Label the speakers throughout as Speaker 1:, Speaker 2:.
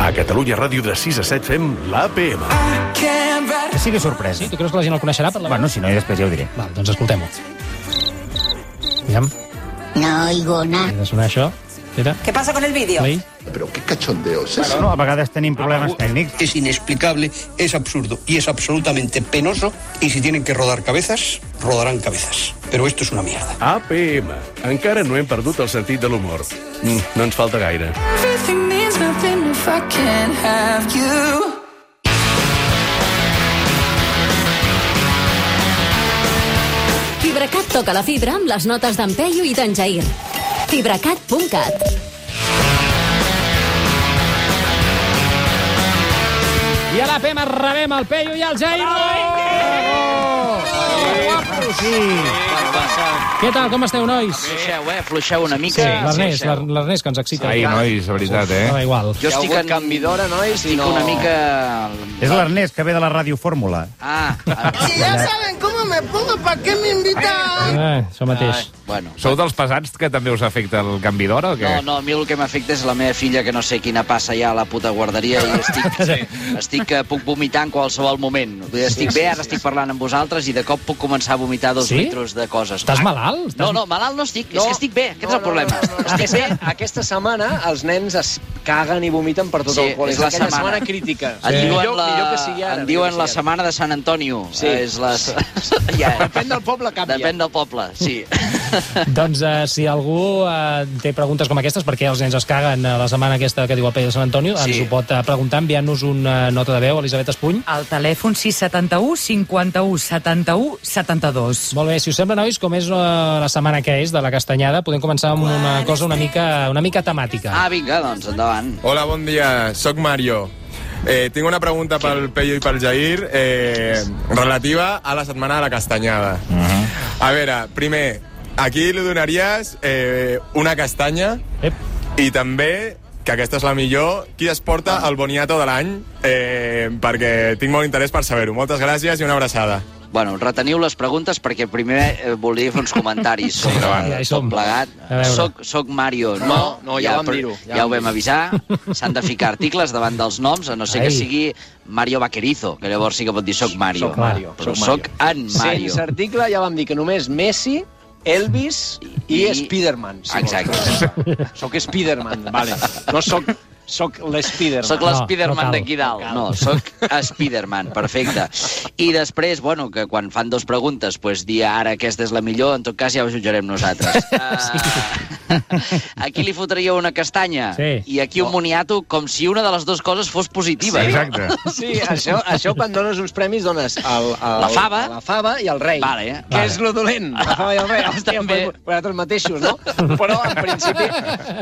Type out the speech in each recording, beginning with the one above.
Speaker 1: A Catalunya Ràdio de 6 a 7 fem l'APM.
Speaker 2: Sí que és sorpresa.
Speaker 3: Sí, tu creus que la gent el coneixerà? Per la...
Speaker 2: Bueno, si no, després ja ho diré.
Speaker 3: Val, doncs escoltem-ho. Aviam,
Speaker 4: No oigo nada.
Speaker 3: ha de sonar això. Espera,
Speaker 5: ¿Qué pasa con el vídeo?
Speaker 3: play.
Speaker 6: Pero qué cachondeo
Speaker 3: eh?
Speaker 6: es eso.
Speaker 2: Bueno, a vegades tenim
Speaker 3: Ah,
Speaker 2: problemes tècnics.
Speaker 7: Es inexplicable, es absurdo y es absolutamente penoso. Y si tienen que rodar cabezas, rodarán cabezas. Pero esto es una mierda.
Speaker 1: APM. Encara no hem perdut el sentit de l'humor. Mm, no ens falta gaire.
Speaker 8: Everything means nothing if I can't have you.
Speaker 9: FibraCat toca la fibra amb les notes d'en Peyu i d'en Jair. FibraCat.cat
Speaker 3: I a la PM rebem el Peyu i el Jair. Bravo! Sí. Què tal, com esteu, nois?
Speaker 10: Fluixeu, eh? Fluixeu una mica.
Speaker 3: L'Ernest,
Speaker 10: fluixeu.
Speaker 3: l'Er- l'Ernest, que ens excita.
Speaker 11: Ai, nois, de veritat, eh?
Speaker 3: Dona igual.
Speaker 10: Jo estic en... canvi d'hora, nois, estic no... una mica...
Speaker 2: És l'Ernest, que ve de la Ràdio Fórmula.
Speaker 10: Ah,
Speaker 8: Si ya saben cómo me pongo, ¿para qué me invitan?
Speaker 3: Ah, això mateix.
Speaker 10: ah, bueno.
Speaker 11: Sou dels pesats que també us afecta el canvi d'hora o què?
Speaker 10: No, no, a mi el que m'afecta és la meva filla, que no sé quina passa ja a la puta guarderia i estic, estic que puc vomitar en qualsevol moment. Vull dir, Estic bé, ara estic parlant amb vosaltres i de cop puc començar a vomitar dos
Speaker 3: Sí?
Speaker 10: litros de coses.
Speaker 3: Estàs malalt?
Speaker 10: No, no, malalt no estic, no. és que estic bé, aquest no, és el problema. No, no, no. Estic bé,
Speaker 7: Aquesta setmana els nens es caguen i vomiten per tot
Speaker 10: Sí,
Speaker 7: el col·le.
Speaker 10: és la
Speaker 7: aquella
Speaker 10: setmana.
Speaker 7: setmana crítica.
Speaker 10: Et diuen
Speaker 7: Millor,
Speaker 10: la,
Speaker 7: millor que sigui ara.
Speaker 10: en diuen
Speaker 7: millor que
Speaker 10: la
Speaker 7: sigui ara.
Speaker 10: setmana de Sant Antonio. Eh,
Speaker 7: Sí.
Speaker 10: És les... ja.
Speaker 7: Depèn del poble, canvia.
Speaker 10: Depèn del poble, sí.
Speaker 3: Doncs eh, si algú eh, té preguntes com aquestes, perquè els nens es caguen eh, la setmana aquesta que diu el Pell de Sant Antonio, sí. ens
Speaker 10: Sí.
Speaker 3: ho pot eh, preguntar enviant-nos una nota de veu, Elisabet Espuny.
Speaker 12: Al telèfon 671 51 71 72.
Speaker 3: Molt bé, si us sembla, nois, com és eh, la setmana que és de la castanyada, podem començar amb una cosa una mica, una mica temàtica.
Speaker 10: Ah, vinga, doncs, endavant.
Speaker 11: Hola, bon dia, sóc Mario. Eh, tinc una pregunta pel Peyo i pel Jair eh, relativa a la setmana de la castanyada. Uh -huh. A veure, primer, aquí li donaries eh, una castanya
Speaker 3: Ep.
Speaker 11: i també, que aquesta és la millor, qui es porta el boniato de l'any, eh, perquè tinc molt interès per saber-ho. Moltes gràcies i una abraçada.
Speaker 10: Bueno, reteniu les preguntes perquè primer eh, volia fer uns comentaris sobre
Speaker 11: endavant.
Speaker 10: eh,
Speaker 3: Ja hi som.
Speaker 10: tot plegat.
Speaker 3: A veure.
Speaker 10: Soc, soc Mario, no?
Speaker 7: No, no, ja vam
Speaker 10: però-
Speaker 7: dir-ho, ja
Speaker 10: Ja, ja ho
Speaker 7: vam
Speaker 10: vam avisar. S'han de ficar articles davant dels noms, a no ser
Speaker 3: Ai.
Speaker 10: que sigui Mario Vaquerizo, que llavors sí que pot dir soc Mario.
Speaker 7: Soc Mario,
Speaker 10: Però
Speaker 7: soc Mario.
Speaker 10: soc en Mario.
Speaker 7: Sense article ja vam dir que només Messi, Elvis i,
Speaker 10: I-
Speaker 7: I... Spiderman. Si
Speaker 10: Exacte.
Speaker 7: vols. Soc Spiderman, vale. No soc, soc l'Spiderman.
Speaker 10: Soc
Speaker 3: No, no
Speaker 10: l'Spiderman
Speaker 3: cal.
Speaker 10: d'aquí dalt. No, sóc Spiderman, perfecte. I després, bueno, que quan fan dos preguntes, pues, dir ara aquesta és la millor, en tot cas ja ho jutjarem nosaltres. Uh, aquí li fotríeu una castanya
Speaker 3: Sí.
Speaker 10: i aquí un moniato com si una de les dues coses fos positiva.
Speaker 7: Sí, això, això quan dones uns premis dones el, el,
Speaker 10: La fava.
Speaker 7: la fava i el rei.
Speaker 10: Vale,
Speaker 7: Què
Speaker 10: vale.
Speaker 7: és lo dolent? La fava i el rei. Hòstia,
Speaker 10: També.
Speaker 7: per, per altres mateixos, no? Però, en principi,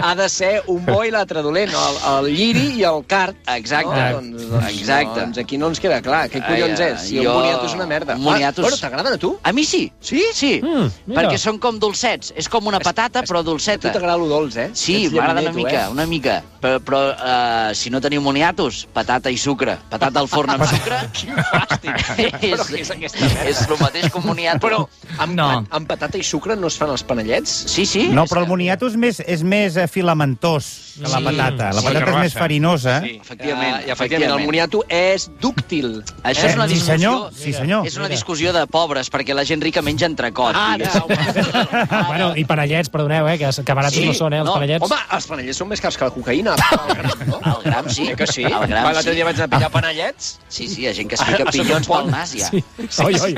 Speaker 7: ha de ser un bo i l'altre dolent. El, el lliri i el cart.
Speaker 10: Exacte.
Speaker 7: No? Doncs, doncs,
Speaker 10: Exacte.
Speaker 7: Doncs aquí no ens queda clar. Què collons
Speaker 10: Ai,
Speaker 7: és? Si
Speaker 10: jo-
Speaker 7: un boniato és una merda.
Speaker 10: un boniato és-
Speaker 7: Ah, bueno, t'agraden a tu?
Speaker 10: A mi sí. Sí? Sí,
Speaker 3: Mm, mira.
Speaker 10: perquè són com dolcets. És com una patata, però
Speaker 7: A tu
Speaker 10: dolceta.
Speaker 7: t'agrada lo dolç, eh?
Speaker 10: Sí,
Speaker 7: Ets
Speaker 10: m'agrada una
Speaker 7: llamineto,
Speaker 10: mica, una mica. Però, però uh, si no teniu moniatos, patata i sucre. Patata al forn amb sucre. Quin fàstic. és, és, és el mateix que un moniato. Però...
Speaker 7: Eh? Amb,
Speaker 2: No.
Speaker 7: no. amb patata i sucre no es fan els panellets?
Speaker 10: Sí, sí.
Speaker 2: No,
Speaker 10: és-
Speaker 2: però el moniato és més, és més eh, filamentós que la patata. La
Speaker 11: Sí.
Speaker 2: patata és més
Speaker 11: Carbassa.
Speaker 2: farinosa.
Speaker 7: Sí,
Speaker 10: Efectivament,
Speaker 7: Ah, I, efectivament, el
Speaker 10: efectivament.
Speaker 7: moniato és dúctil.
Speaker 10: Eh,
Speaker 7: Eh?
Speaker 10: Això és una
Speaker 2: sí,
Speaker 10: discussió...
Speaker 2: senyor, sí, senyor.
Speaker 10: És una
Speaker 3: Mira.
Speaker 10: discussió de pobres, perquè la gent rica menja entrecot.
Speaker 7: Ah,
Speaker 10: diguéssim.
Speaker 7: mm.
Speaker 3: Ah, bueno, i panellets, perdoneu, eh, que, que barats
Speaker 10: Sí,
Speaker 3: no són, eh, els
Speaker 10: no,
Speaker 3: panellets.
Speaker 7: Home, els panellets són més cars que la cocaïna. El gram, no?
Speaker 10: El gram sí.
Speaker 7: Eh que sí?
Speaker 10: El gram
Speaker 7: Va, L'altre
Speaker 10: sí.
Speaker 7: dia vaig anar a pillar panellets.
Speaker 10: Sí, sí, hi ha gent que es fica pillons pel nas, ja.
Speaker 3: Sí. Oi, oi.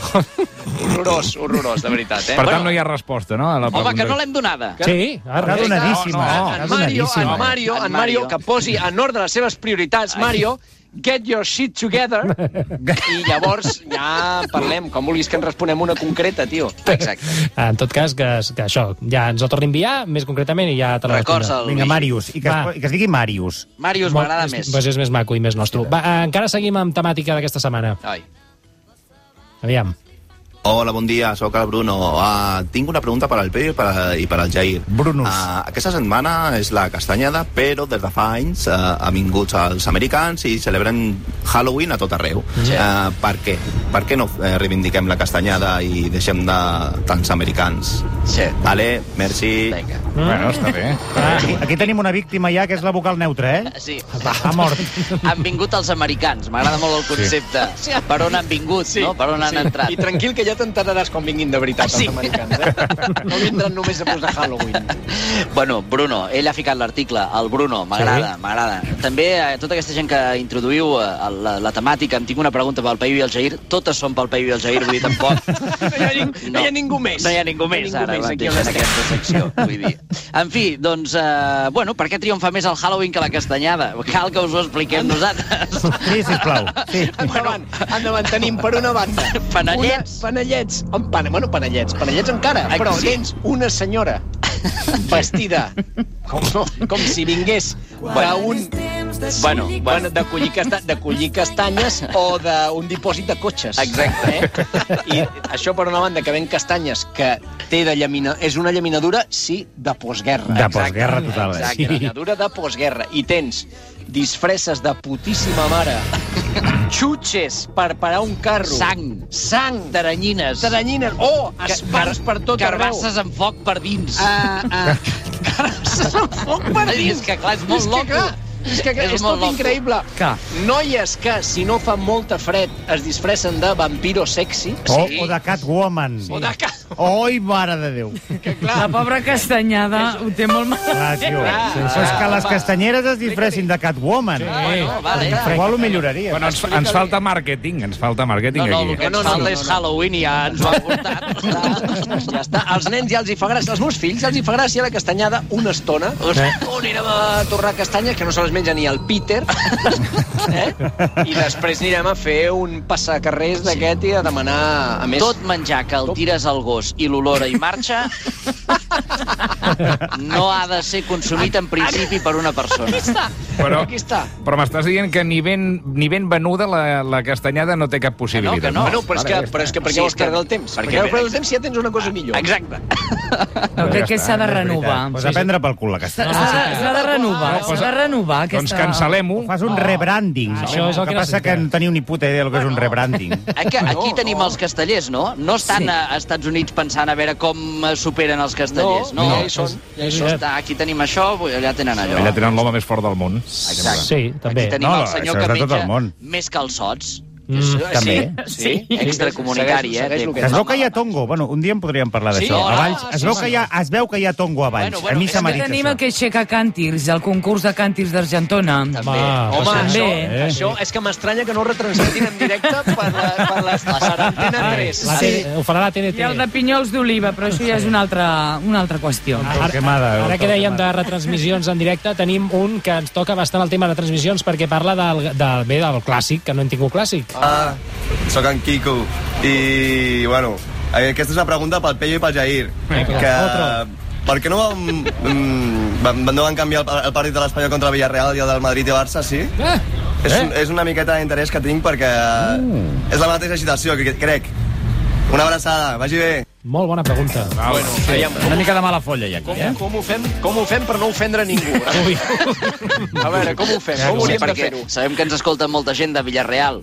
Speaker 7: Horrorós, horrorós, de veritat, eh?
Speaker 11: Per tant, no hi ha resposta, no? A la
Speaker 10: Home, que no l'hem donada.
Speaker 3: Sí, ah,
Speaker 2: Està
Speaker 3: res.
Speaker 2: donadíssima. està
Speaker 11: No, no,
Speaker 7: en Mario, en
Speaker 2: donadíssima.
Speaker 7: Mario, en Mario, que posi en ordre les seves prioritats, Mario, get your shit together, i llavors ja parlem, com vulguis que en responem una concreta, tio.
Speaker 10: Exacte.
Speaker 3: Ah, En tot cas, que, que això, ja ens ho torni a enviar, més concretament, i ja te la
Speaker 10: Records
Speaker 3: respondré.
Speaker 10: el...
Speaker 2: Vinga, Màrius. I que,
Speaker 3: Va.
Speaker 2: es, i que es digui Màrius.
Speaker 10: Màrius
Speaker 3: Molt-
Speaker 10: m'agrada
Speaker 3: és-
Speaker 10: més.
Speaker 3: Doncs és més maco i més nostre. Va, eh, encara seguim amb temàtica d'aquesta setmana.
Speaker 7: Ai.
Speaker 3: Aviam.
Speaker 5: Hola, bon dia, sóc el Bruno. Uh, tinc una pregunta per al Peyu i per, i per al Jair.
Speaker 2: Brunos.
Speaker 5: Uh, aquesta setmana és la castanyada, però des de fa anys uh, ha vingut els americans i celebren Halloween a tot arreu.
Speaker 6: Ja.
Speaker 5: Uh, per què? Per què no eh, reivindiquem la castanyada i deixem de tants americans?
Speaker 10: Sí.
Speaker 5: Vale, merci. Vinga.
Speaker 2: Bueno, està
Speaker 5: bé.
Speaker 2: Mm. Ah, aquí tenim una víctima ja, que és la vocal neutra, eh?
Speaker 10: Sí.
Speaker 2: Ha mort.
Speaker 10: Han vingut els americans, m'agrada molt el concepte. Sí. Per on han vingut, sí. no? Per on han sí. entrat.
Speaker 7: I tranquil, que ja t'enteraràs quan vinguin de veritat
Speaker 10: Sí.
Speaker 7: els americans, eh? No vindran només a posar Halloween.
Speaker 10: Bueno, Bruno, ell ha ficat l'article, el Bruno, m'agrada,
Speaker 7: Sí.
Speaker 10: m'agrada. També eh, tota aquesta gent que introduïu eh, la, la temàtica, em tinc una pregunta pel Paiu i el Jair, totes són pel Paiu i el Jair, vull dir, tampoc...
Speaker 7: No hi ha, ning no. no hi ha ningú més.
Speaker 10: No hi ha ningú més
Speaker 7: ningú
Speaker 10: ara
Speaker 7: més
Speaker 10: mateix
Speaker 7: aquí on
Speaker 10: en
Speaker 7: estem.
Speaker 10: aquesta secció, vull dir. En fi, doncs, eh, bueno, per què triomfa més el Halloween que la castanyada? Cal que us ho expliquem nosaltres.
Speaker 2: Sí, sisplau. Sí.
Speaker 7: Endavant, endavant, tenim per una banda...
Speaker 10: Panellets.
Speaker 7: Una, panellets. Amb pan, bueno, panellets. Panellets encara,
Speaker 10: Ah,
Speaker 7: però
Speaker 10: sí.
Speaker 7: tens una senyora vestida com, com si vingués d'un...
Speaker 10: Bueno,
Speaker 7: bueno, de collir, casta, de collir castanyes o d'un dipòsit de cotxes. Exacte. Eh? I això, per una banda, que ven castanyes que té de llamina... És una llaminadura, sí, de postguerra.
Speaker 2: De postguerra total, eh?
Speaker 7: Exacte,
Speaker 2: Sí.
Speaker 7: llaminadura de postguerra. I tens disfresses de putíssima mare, xutxes per parar un carro...
Speaker 10: Sang.
Speaker 7: Sang.
Speaker 10: Taranyines.
Speaker 7: Taranyines. Oh, espars per tot arreu.
Speaker 10: Carbasses amb foc per dins.
Speaker 7: Ah, ah. Carbasses amb foc Oh, per
Speaker 10: És
Speaker 7: dins.
Speaker 10: que, clar, és molt
Speaker 7: és
Speaker 10: loco.
Speaker 7: Que, clar, és que
Speaker 10: És
Speaker 7: és, és
Speaker 10: molt
Speaker 7: tot
Speaker 10: loco.
Speaker 7: increïble.
Speaker 2: Clar.
Speaker 7: Noies que, si no fa molta fred, es disfressen de vampiro sexy.
Speaker 10: Oh,
Speaker 3: Oh.
Speaker 2: O, o de Catwoman.
Speaker 7: O de ca-
Speaker 2: Oi, mare de Déu.
Speaker 7: Que,
Speaker 12: La
Speaker 7: clar,
Speaker 12: pobra castanyada ho té molt
Speaker 2: Clar,
Speaker 12: mal.
Speaker 2: Ah, tio. Això és que les castanyeres es disfressin de Catwoman. Ah,
Speaker 7: Ah,
Speaker 10: Bueno, vale.
Speaker 2: Igual ho milloraria.
Speaker 13: Bueno, ens, ens falta màrqueting, ens falta màrqueting
Speaker 10: No, no, el
Speaker 13: aquí.
Speaker 10: que ens falta és Halloween i ja ens ho han portat.
Speaker 7: ja està. Als nens ja els hi fa gràcia, als meus fills els hi fa gràcia la castanyada una estona. Eh? On anirem a torrar castanyes, que no se les menja ni el Peter. eh? I després anirem a fer un passacarrers d'aquest i a demanar... A més,
Speaker 10: Tot menjar que el tires al gos i l'olora i marxa no ha de ser consumit en principi per una persona.
Speaker 13: Però,
Speaker 7: Aquí està.
Speaker 13: però m'estàs dient que ni ben, ni ben venuda la, la castanyada no té cap possibilitat.
Speaker 10: Que no, que no.
Speaker 7: No, però, és
Speaker 13: Vale,
Speaker 7: que,
Speaker 13: ja està.
Speaker 7: però és que per
Speaker 10: Sí,
Speaker 7: què vols
Speaker 10: és que-
Speaker 7: perdre el temps?
Speaker 10: perquè-
Speaker 7: Per què vols perdre el temps si ja tens una cosa millor?
Speaker 10: Exacte.
Speaker 12: No, crec que
Speaker 13: eh?
Speaker 12: s'ha de renovar.
Speaker 2: Pues a prendre pel cul la
Speaker 12: S'ha
Speaker 2: castanya.
Speaker 12: s'ha- s'ha de renovar,
Speaker 13: No,
Speaker 12: s'ha
Speaker 13: pues-
Speaker 12: de renovar.
Speaker 13: Doncs
Speaker 12: Aquesta...
Speaker 13: cancel·lem-ho.
Speaker 2: Ah. Fas un rebranding.
Speaker 3: Això és el que
Speaker 2: passa que
Speaker 3: necessitem.
Speaker 2: no teniu ni puta idea del que és un rebranding.
Speaker 10: Aquí, aquí tenim els castellers, no? No estan
Speaker 12: Sí.
Speaker 10: sí. a Estats Units pensant a veure com eh, superen els castellers.
Speaker 7: No,
Speaker 10: No,
Speaker 7: ja hi són, ja hi
Speaker 10: Això
Speaker 7: són.
Speaker 10: està, aquí tenim això, allà tenen allò.
Speaker 13: Allà tenen l'home més fort del món.
Speaker 10: Exacte.
Speaker 3: Sí, també.
Speaker 10: Aquí tenim
Speaker 2: No,
Speaker 10: el senyor
Speaker 2: això és
Speaker 10: que
Speaker 2: de tot
Speaker 10: menja
Speaker 2: el món.
Speaker 10: més calçots.
Speaker 3: Mm,
Speaker 10: Sí,
Speaker 2: també.
Speaker 10: Sí, sí. extracomunitari,
Speaker 7: Segueix- segueix
Speaker 10: eh?
Speaker 7: lo
Speaker 2: Que es veu que hi ha tongo. Bueno, un dia en podríem parlar
Speaker 7: Sí?
Speaker 2: d'això.
Speaker 10: Ah,
Speaker 2: A Valls, es,
Speaker 10: sí,
Speaker 2: veu
Speaker 10: sí.
Speaker 2: que hi ha, es veu que hi ha tongo a Valls.
Speaker 10: Bueno,
Speaker 2: a
Speaker 10: bueno,
Speaker 2: mi
Speaker 10: és
Speaker 2: se m'ha
Speaker 12: També
Speaker 2: dit
Speaker 12: tenim el
Speaker 2: això.
Speaker 12: que aixeca càntirs, el concurs de càntirs d'Argentona.
Speaker 10: També.
Speaker 3: Home,
Speaker 7: Home,
Speaker 12: També.
Speaker 7: Ah, això,
Speaker 12: Eh?
Speaker 7: això és que m'estranya que no ho retransmetin en directe per, la, per, les, per l'Antena 3.
Speaker 3: La
Speaker 7: Sí.
Speaker 3: sí. Ho farà la
Speaker 12: Hi ha el de
Speaker 3: TNT.
Speaker 12: pinyols d'oliva, però això ja és una altra, una altra qüestió.
Speaker 2: Torquemada,
Speaker 3: Ara que
Speaker 2: Torquemada.
Speaker 3: dèiem de retransmissions en directe, tenim un que ens toca bastant el tema de retransmissions perquè parla del, del, bé, del clàssic, que no hem tingut clàssic.
Speaker 5: Ah, sóc en Quico i, bueno, aquesta és una pregunta pel Peyu i pel Jair.
Speaker 3: Vinga,
Speaker 5: que,
Speaker 3: otro.
Speaker 5: per què no vam, mm, van, van, no van canviar el, el partit de l'Espanyol contra el Villarreal i el del Madrid i Barça, sí?
Speaker 3: Ah,
Speaker 5: És,
Speaker 2: Eh?
Speaker 5: un, és una miqueta d'interès que tinc perquè
Speaker 2: Oh.
Speaker 5: és la mateixa situació, que, crec. Una abraçada, vagi bé.
Speaker 3: molt bona pregunta.
Speaker 13: Ah, bueno.
Speaker 7: Aviam,
Speaker 2: Una mica de mala folla, ja,
Speaker 7: Com, com, ho fem, com ho fem per no ofendre ningú? A veure, com ho fem?
Speaker 10: Sí,
Speaker 7: Com hauríem de
Speaker 10: perquè
Speaker 7: fer-ho?
Speaker 10: sabem que ens escolta molta gent de Villarreal.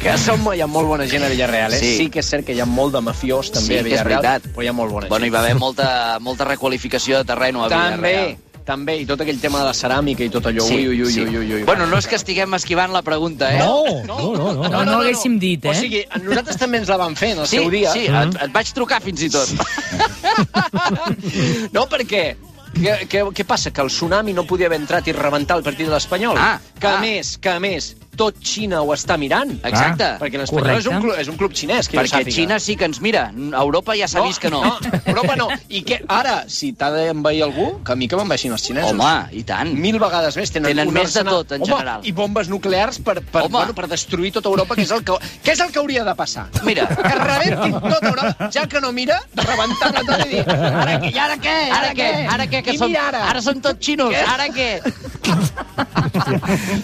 Speaker 7: Que som, hi ha molt bona gent a Villarreal, eh?
Speaker 10: Sí.
Speaker 7: Sí, sí que és cert que hi ha molt de mafiós també
Speaker 10: Sí, que
Speaker 7: a
Speaker 10: és
Speaker 7: Villarreal,
Speaker 10: veritat.
Speaker 7: però hi ha molt bona
Speaker 10: Bueno, hi
Speaker 7: gent.
Speaker 10: va haver molta, molta requalificació de terreno a
Speaker 7: també,
Speaker 10: Villarreal.
Speaker 7: també, i tot aquell tema de la ceràmica i tot allò.
Speaker 10: Sí,
Speaker 7: Sí, ui, ui,
Speaker 10: sí.
Speaker 7: ui, ui, ui.
Speaker 10: Bueno, no és que estiguem esquivant la pregunta, eh?
Speaker 3: No, no, no. no.
Speaker 12: No, no l'haguéssim dit, eh?
Speaker 7: O sigui, a nosaltres també ens la van fer en el
Speaker 10: Sí,
Speaker 7: seu dia.
Speaker 10: sí, et, et vaig trucar fins i tot.
Speaker 7: No, perquè... Què, què, què passa? Que el tsunami no podia haver entrat i rebentar el partit de l'Espanyol?
Speaker 10: Ah,
Speaker 7: que a
Speaker 10: ah.
Speaker 7: més, que a més, tot Xina ho està mirant.
Speaker 10: Exacte.
Speaker 7: Perquè l'Espanyol és, un
Speaker 10: Correcte.
Speaker 7: club, és un club xinès, que jo
Speaker 10: Perquè
Speaker 7: sàpiga.
Speaker 10: Xina sí que ens mira. Europa ja s'ha
Speaker 7: No,
Speaker 10: vist que no.
Speaker 7: no, Europa no. I què? Ara, si t'ha d'envair algú, que a mi que m'envaixin els xinesos.
Speaker 10: Home, i tant.
Speaker 7: Mil vegades més. Tenen,
Speaker 10: Tenen
Speaker 7: un
Speaker 10: més de
Speaker 7: arsenal-
Speaker 10: tot, en
Speaker 7: Home,
Speaker 10: general.
Speaker 7: i bombes nuclears per, per,
Speaker 10: Home.
Speaker 7: bueno, per destruir tota Europa, que és el que, que, és el que hauria de passar.
Speaker 10: Mira.
Speaker 7: Que rebentin tota Europa, ja que no mira, rebentar-la tot i dir, ara, què- i ara què?
Speaker 10: Ara què? Ara què? Que
Speaker 7: I
Speaker 10: som,
Speaker 7: mira ara.
Speaker 10: ara som tots xinos.
Speaker 7: Què?
Speaker 10: Ara què?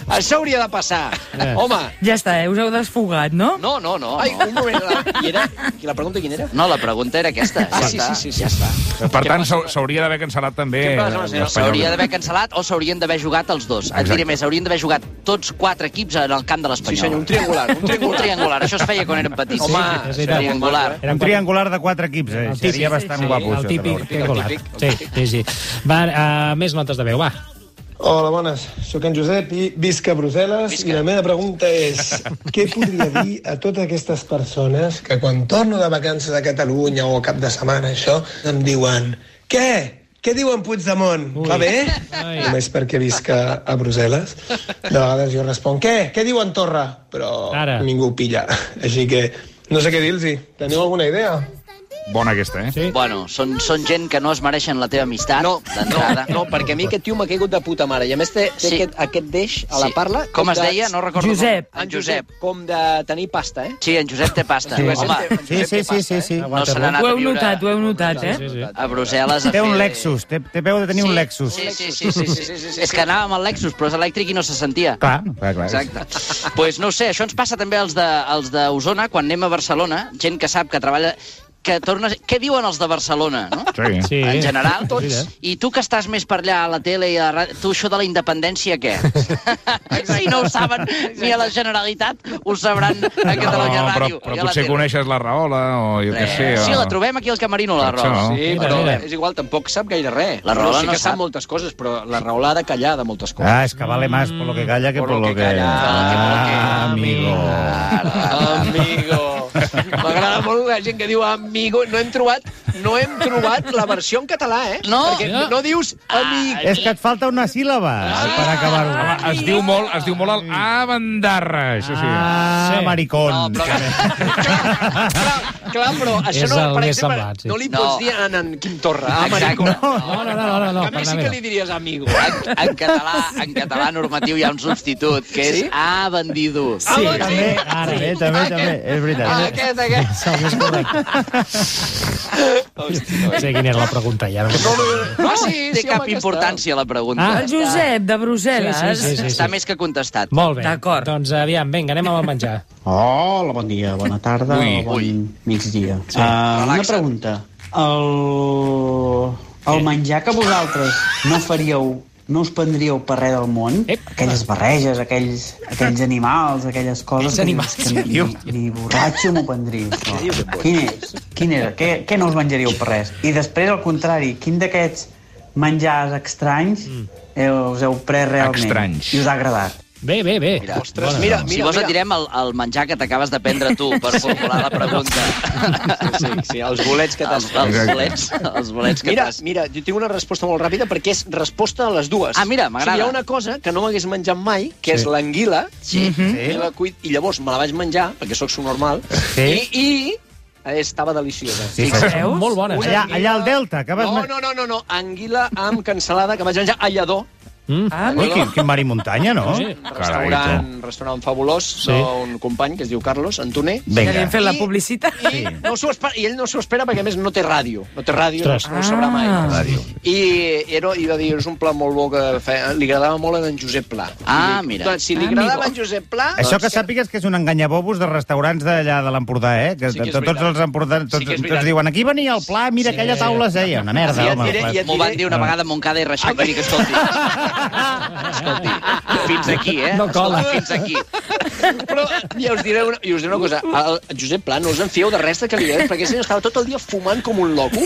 Speaker 7: Això hauria de passar. Home,
Speaker 12: Ja està, eh? us heu desfogat, no?
Speaker 10: No, no, no.
Speaker 7: Ai,
Speaker 10: no.
Speaker 7: un moment. la- I era... I la pregunta quina era?
Speaker 10: No, la pregunta era aquesta. Ja
Speaker 7: sí,
Speaker 10: està.
Speaker 7: sí, sí, sí. Ja està.
Speaker 13: Per tant, s'hau- s'hauria d'haver cancel·lat també...
Speaker 7: Què
Speaker 13: eh,
Speaker 7: passa, senyora?
Speaker 13: l'Espanyol.
Speaker 10: S'hauria d'haver cancel·lat o s'haurien d'haver jugat els dos. Et
Speaker 13: Exacte.
Speaker 10: diré més, s'haurien d'haver jugat tots quatre equips en el camp de l'Espanyol.
Speaker 7: Sí, senyor, un triangular, un triangular.
Speaker 10: Un triangular, això es feia quan érem petits.
Speaker 7: Home,
Speaker 10: és
Speaker 7: seria
Speaker 10: triangular.
Speaker 7: maco,
Speaker 2: Un triangular de quatre equips, eh?
Speaker 3: El
Speaker 2: Seria bastant guapo.
Speaker 3: el
Speaker 2: això, de
Speaker 3: típic,
Speaker 2: veure.
Speaker 3: triangular. Sí, sí, sí. Va, uh, més notes de veu, va.
Speaker 6: Hola, bones. Sóc en Josep i visc a Brussel·les i la meva pregunta és què podria dir a totes aquestes persones que quan torno de vacances a Catalunya o a cap de setmana, això, em diuen què? Què diuen Puigdemont? Ui. Va bé? Ai. Només perquè visc a, a Brussel·les. De vegades jo responc què? Què diuen Torra? Però Ara. ningú ho pilla. Així que no sé què dir-los. Teniu alguna idea?
Speaker 13: Bona aquesta, eh?
Speaker 10: Sí. Bueno, són, són gent que no es mereixen la teva amistat, no, d'entrada.
Speaker 7: No, perquè a mi aquest tio m'ha caigut de puta mare. I a més té, té
Speaker 10: Sí.
Speaker 7: sí. aquest, aquest deix a la
Speaker 10: Sí.
Speaker 7: parla...
Speaker 10: Com es deia? No recordo Josep. com.
Speaker 7: En Josep. Com de tenir pasta, eh?
Speaker 10: Sí, en Josep té pasta.
Speaker 2: Sí.
Speaker 10: Home,
Speaker 2: Sí, sí, sí, sí, sí.
Speaker 10: no se n'ha anat
Speaker 12: Ho
Speaker 10: a
Speaker 12: heu
Speaker 10: viure
Speaker 12: notat, ho heu notat, eh?
Speaker 10: a Brussel·les a
Speaker 2: Té un
Speaker 10: fer-
Speaker 2: Lexus, té, té peu de tenir un Lexus.
Speaker 10: Sí, sí, sí, sí, sí, sí, sí, sí. És que anàvem al Lexus, però és elèctric i no se sentia.
Speaker 2: Clar, clar, clar.
Speaker 10: Exacte. Doncs pues no ho sé, això ens passa també als de- als d'Osona, quan anem a Barcelona, gent que sap que treballa que torna... Què diuen els de Barcelona, no?
Speaker 13: Sí.
Speaker 3: Sí.
Speaker 10: En general,
Speaker 3: Sí, eh?
Speaker 10: tots. I tu que estàs més per allà a la tele i a la ràdio, tu això de la independència, què? si no ho saben ni a la Generalitat, ho sabran a Catalunya
Speaker 13: No, però,
Speaker 10: Ràdio. i
Speaker 13: però
Speaker 10: a la
Speaker 13: potser
Speaker 10: tele. Eh,
Speaker 13: coneixes la Rahola o jo què sé.
Speaker 10: Sí,
Speaker 13: o...
Speaker 10: la trobem aquí al Camerino, la
Speaker 13: Per
Speaker 10: Rola.
Speaker 13: això.
Speaker 7: Sí,
Speaker 13: Mira,
Speaker 7: però
Speaker 13: mira.
Speaker 7: és igual, tampoc sap gaire res.
Speaker 10: La Rahola
Speaker 7: Però sí
Speaker 10: no
Speaker 7: que sap
Speaker 10: sap.
Speaker 7: moltes coses, però la Rahola ha de callar de moltes coses.
Speaker 2: Ah, es que vale más por lo que calla que Mm, por, lo que...
Speaker 7: calla,
Speaker 2: Ah, amigo. Ah,
Speaker 7: Amigo. M'agrada molt la gent que diu amigo. No hem trobat, no hem trobat la versió en català, eh?
Speaker 10: No.
Speaker 7: Perquè no, no dius amic.
Speaker 2: És que et falta una síl·laba per acabar-ho.
Speaker 13: Home, es diu molt, es diu molt el Avandarra, això sí.
Speaker 2: Ah,
Speaker 3: Sí.
Speaker 2: maricón.
Speaker 10: No, però...
Speaker 7: Clar, clar, però això
Speaker 3: És
Speaker 7: no,
Speaker 3: el
Speaker 7: per
Speaker 3: més
Speaker 7: exemple,
Speaker 3: semblant, sí.
Speaker 7: no li
Speaker 10: No.
Speaker 7: pots dir en, en Quim Torra. Ah,
Speaker 10: Exacte.
Speaker 7: maricón.
Speaker 10: No,
Speaker 3: No, no, no, no, no.
Speaker 7: a mi sí que li diries amigo.
Speaker 10: En, en, català, en català normatiu hi ha un substitut, que és
Speaker 7: Sí?
Speaker 10: ah, bandido.
Speaker 3: Sí,
Speaker 2: També, ara, eh, també, també, és
Speaker 7: Ah,
Speaker 2: veritat.
Speaker 7: aquest,
Speaker 3: És
Speaker 7: aquest.
Speaker 3: el més correcte. No sé quina era la pregunta, ja. No me'n recordo.
Speaker 10: No,
Speaker 7: Ah,
Speaker 10: sí, té cap
Speaker 7: home, que
Speaker 10: importància la pregunta.
Speaker 3: Ah.
Speaker 12: El Josep, de Brussel·les.
Speaker 3: Sí, sí, sí.
Speaker 10: Està més que contestat.
Speaker 3: Molt bé.
Speaker 12: D'acord.
Speaker 3: Doncs aviam, vinga, anem amb el menjar.
Speaker 14: Hola, bon dia, bona tarda
Speaker 13: Ui,
Speaker 14: o bon migdia. Sí. Uh, una
Speaker 10: relaxa't.
Speaker 14: pregunta. El, el menjar que vosaltres no faríeu, no us prendríeu per res del món,
Speaker 3: Ep.
Speaker 14: aquelles barreges, aquells, aquells animals, aquelles coses que,
Speaker 3: animals,
Speaker 14: dius que ni, ni, ni borratxo m'ho prendríeu. No. Quin és? Quin era? Què, què no us menjaríeu per res? I després, al contrari, quin d'aquests menjars estranys eh, us heu pres realment
Speaker 13: Estranys.
Speaker 14: i us ha agradat?
Speaker 3: Bé, bé, bé.
Speaker 10: Mira,
Speaker 7: Ostres, mira,
Speaker 10: si
Speaker 7: mira,
Speaker 10: vols et
Speaker 7: mira.
Speaker 10: direm el, el menjar que t'acabes de prendre tu per formular la pregunta.
Speaker 7: Sí, sí, els bolets que t'has
Speaker 10: Els, els bolets, els bolets que
Speaker 7: Mira,
Speaker 10: t'has...
Speaker 7: mira, jo tinc una resposta molt ràpida perquè és resposta a les dues.
Speaker 10: Ah, mira, m'agrada.
Speaker 7: O sigui, hi ha una cosa que no m'hagués menjat mai, que sí. és l'anguila, sí. i, la cuit, i llavors me la vaig menjar, perquè sóc subnormal,
Speaker 2: Sí.
Speaker 7: i, i estava deliciosa.
Speaker 2: Sí,
Speaker 12: Veus?
Speaker 3: Molt eh? bones.
Speaker 2: Allà, allà al Delta, que vas...
Speaker 7: No, no, no, no, no, anguila amb cancel·lada que vaig menjar a Lledó,
Speaker 12: Ah,
Speaker 2: Mm. Ui, quin, quin mar i muntanya, no?
Speaker 3: Sí.
Speaker 7: un
Speaker 13: Carai,
Speaker 7: restaurant, restaurant fabulós
Speaker 3: Sí.
Speaker 7: sí. d'un company que es diu Carlos Antoner,
Speaker 12: ja li
Speaker 2: Vinga.
Speaker 12: hem fet la publicitat.
Speaker 7: I, no s'ho espera, I ell no s'ho espera perquè, a més, no té ràdio. No té ràdio,
Speaker 3: Ostres.
Speaker 7: no ho sabrà mai.
Speaker 12: Ah.
Speaker 7: Ràdio. I, era, I va dir, és un pla molt bo que fe, li agradava molt a en Josep Pla.
Speaker 10: Ah,
Speaker 7: I,
Speaker 10: mira.
Speaker 7: Doncs, si li
Speaker 12: Amigo.
Speaker 7: agradava a en Josep Pla...
Speaker 2: Això que
Speaker 7: doncs,
Speaker 2: sàpigues que és un enganyabobos de restaurants d'allà de l'Empordà, eh? Que,
Speaker 7: Sí que és
Speaker 2: to- tots
Speaker 7: veritat.
Speaker 2: els empordaners
Speaker 7: Sí
Speaker 2: tots,
Speaker 7: que és
Speaker 2: tots
Speaker 7: veritat.
Speaker 2: diuen aquí venia el pla, mira
Speaker 3: Sí.
Speaker 2: aquella taula seia. Una merda,
Speaker 7: Ja et
Speaker 2: home.
Speaker 7: diré,
Speaker 2: clar.
Speaker 7: ja et
Speaker 10: M'ho van dir una
Speaker 2: Ah.
Speaker 10: vegada Montcada i Reixac, vull dir que escolti, escolti, fins aquí, eh?
Speaker 3: No cola.
Speaker 10: Escolti, Fins aquí.
Speaker 7: Ah. Però ja us diré una, i us diré una cosa. El Josep Pla, no us en fieu de res de que li deus, perquè aquest senyor estava tot el dia fumant com un loco.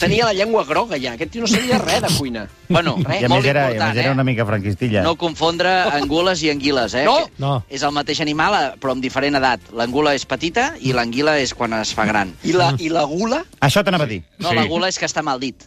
Speaker 7: Tenia la llengua groga, ja. Aquest tio no sabia res de cuina.
Speaker 10: Bueno,
Speaker 2: I a
Speaker 10: molt
Speaker 2: més era, i a
Speaker 10: important,
Speaker 2: més era
Speaker 10: eh?
Speaker 2: una mica franquistilla.
Speaker 10: No confondre angules i anguiles, eh?
Speaker 7: No.
Speaker 3: No.
Speaker 10: És el mateix animal, eh, però amb diferent edat. L'angula és petita i
Speaker 7: Mm.
Speaker 10: l'anguila és quan es fa gran.
Speaker 7: I la, i la gula...
Speaker 2: Això t'anava a dir.
Speaker 10: No,
Speaker 13: Sí.
Speaker 10: sí. la gula és que està mal dit.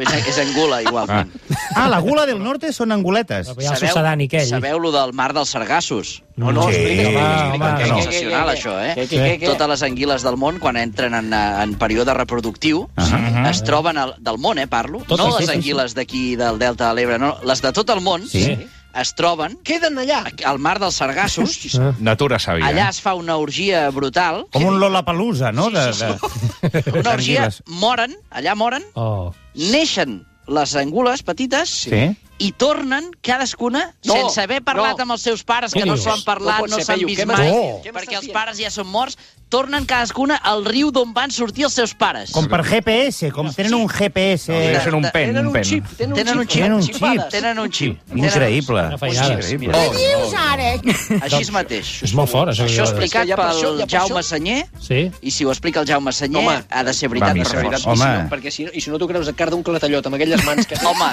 Speaker 10: És, és Angola, igualment.
Speaker 2: Ah, la gula del norte són anguletes.
Speaker 10: Sabeu lo del mar dels sargassos?
Speaker 2: No, no, explica,
Speaker 3: Ah,
Speaker 10: Home, que és
Speaker 2: no.
Speaker 10: sensacional, això, eh?
Speaker 2: Què, què, què?
Speaker 10: Totes les anguiles del món, quan entren en, eh, en període reproductiu,
Speaker 2: Ah,
Speaker 10: es troben al, del món, eh, parlo,
Speaker 7: Totes,
Speaker 10: no
Speaker 7: sí,
Speaker 10: les
Speaker 7: sí, sí.
Speaker 10: anguiles d'aquí del Delta de l'Ebre, no, les de tot el món
Speaker 13: Sí.
Speaker 10: es troben... Queden allà! Al mar dels Sargassos,
Speaker 13: Natura sàvia.
Speaker 10: allà es fa una orgia brutal,
Speaker 2: Ah. Com un Lollapalooza, no? De, de...
Speaker 10: una orgia,
Speaker 2: Anguiles.
Speaker 10: moren, allà moren,
Speaker 3: Oh.
Speaker 10: neixen les angules petites
Speaker 2: Sí.
Speaker 10: i tornen cadascuna
Speaker 7: No,
Speaker 10: sense haver parlat
Speaker 7: no.
Speaker 10: amb els seus pares, que
Speaker 7: Què
Speaker 10: no
Speaker 7: dius?
Speaker 10: s'ho han parlat,
Speaker 7: No pot
Speaker 10: no
Speaker 7: ser,
Speaker 10: s'han
Speaker 7: Peyu,
Speaker 10: vist
Speaker 7: què
Speaker 10: mai,
Speaker 7: m'estàs dient? Què
Speaker 10: perquè els pares ja són morts, tornen cadascuna al riu d'on van sortir els seus pares.
Speaker 2: Com per GPS, com tenen un GPS...
Speaker 10: Tenen un pen, Tenen un un pen. xip, tenen un
Speaker 2: Tenen un
Speaker 10: xip,
Speaker 2: xip. Tenen un xip.
Speaker 10: xipades. Tenen un xip.
Speaker 2: Increïble.
Speaker 10: Una feinada.
Speaker 2: Increïble.
Speaker 3: Oh,
Speaker 10: Què dius,
Speaker 4: ara?
Speaker 10: Així és mateix.
Speaker 3: És molt fort, això.
Speaker 10: Això
Speaker 3: que-
Speaker 10: explicat
Speaker 7: ja per
Speaker 10: pel
Speaker 7: això- ja per
Speaker 10: Jaume
Speaker 7: això-
Speaker 10: Senyer,
Speaker 3: Sí.
Speaker 10: i si ho explica el Jaume Senyer,
Speaker 7: Home.
Speaker 10: ha de ser veritat.
Speaker 7: Home,
Speaker 10: de
Speaker 7: veritat,
Speaker 10: reforç.
Speaker 7: i si no, perquè si no, i si no t'ho creus et carda un clatallot amb aquelles mans que...
Speaker 10: Home,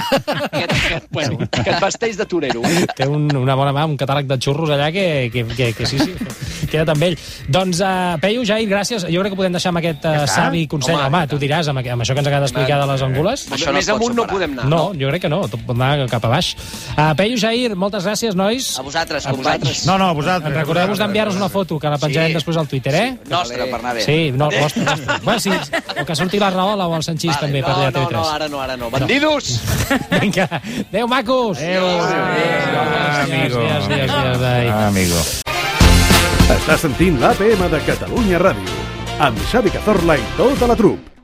Speaker 7: que, que, bueno, que et vesteix de torero.
Speaker 3: Té un, una bona mà, un catàleg de xurros allà que, que, que, que sí, sí, queda amb ell. Doncs, uh, Peyu, Jair, gràcies. Jo crec que podem deixar amb aquest uh, savi consell. Home, tu diràs amb, aqu- amb això que ens acaba d'explicar de les angules.
Speaker 7: Això no Més amunt no podem anar.
Speaker 3: No, jo crec que no, tot pot anar cap a baix. Uh, Peyu, Jair, moltes gràcies, nois.
Speaker 10: A vosaltres,
Speaker 3: A
Speaker 10: companys.
Speaker 3: vosaltres.
Speaker 2: no, a vosaltres.
Speaker 3: Recordeu-vos d'enviar-nos una foto, que la penjarem
Speaker 10: Sí.
Speaker 3: després al Twitter, eh?
Speaker 10: Nostra, per anar bé.
Speaker 3: Sí, no, vostre, vostre. Bueno, sí, o que surti l'Arnaola o el Sanchís vale. també per
Speaker 7: No,
Speaker 3: allà a
Speaker 7: no,
Speaker 3: TV3.
Speaker 7: no, ara no, ara no. Bandidos!
Speaker 3: Vinga, adéu, macos! Adéu,
Speaker 13: amigo.
Speaker 3: Adiós, adiós, adiós, adiós.
Speaker 13: Amigo.
Speaker 1: Estàs sentint l'APM de Catalunya Ràdio amb Xavi Cazorla i tota la trup.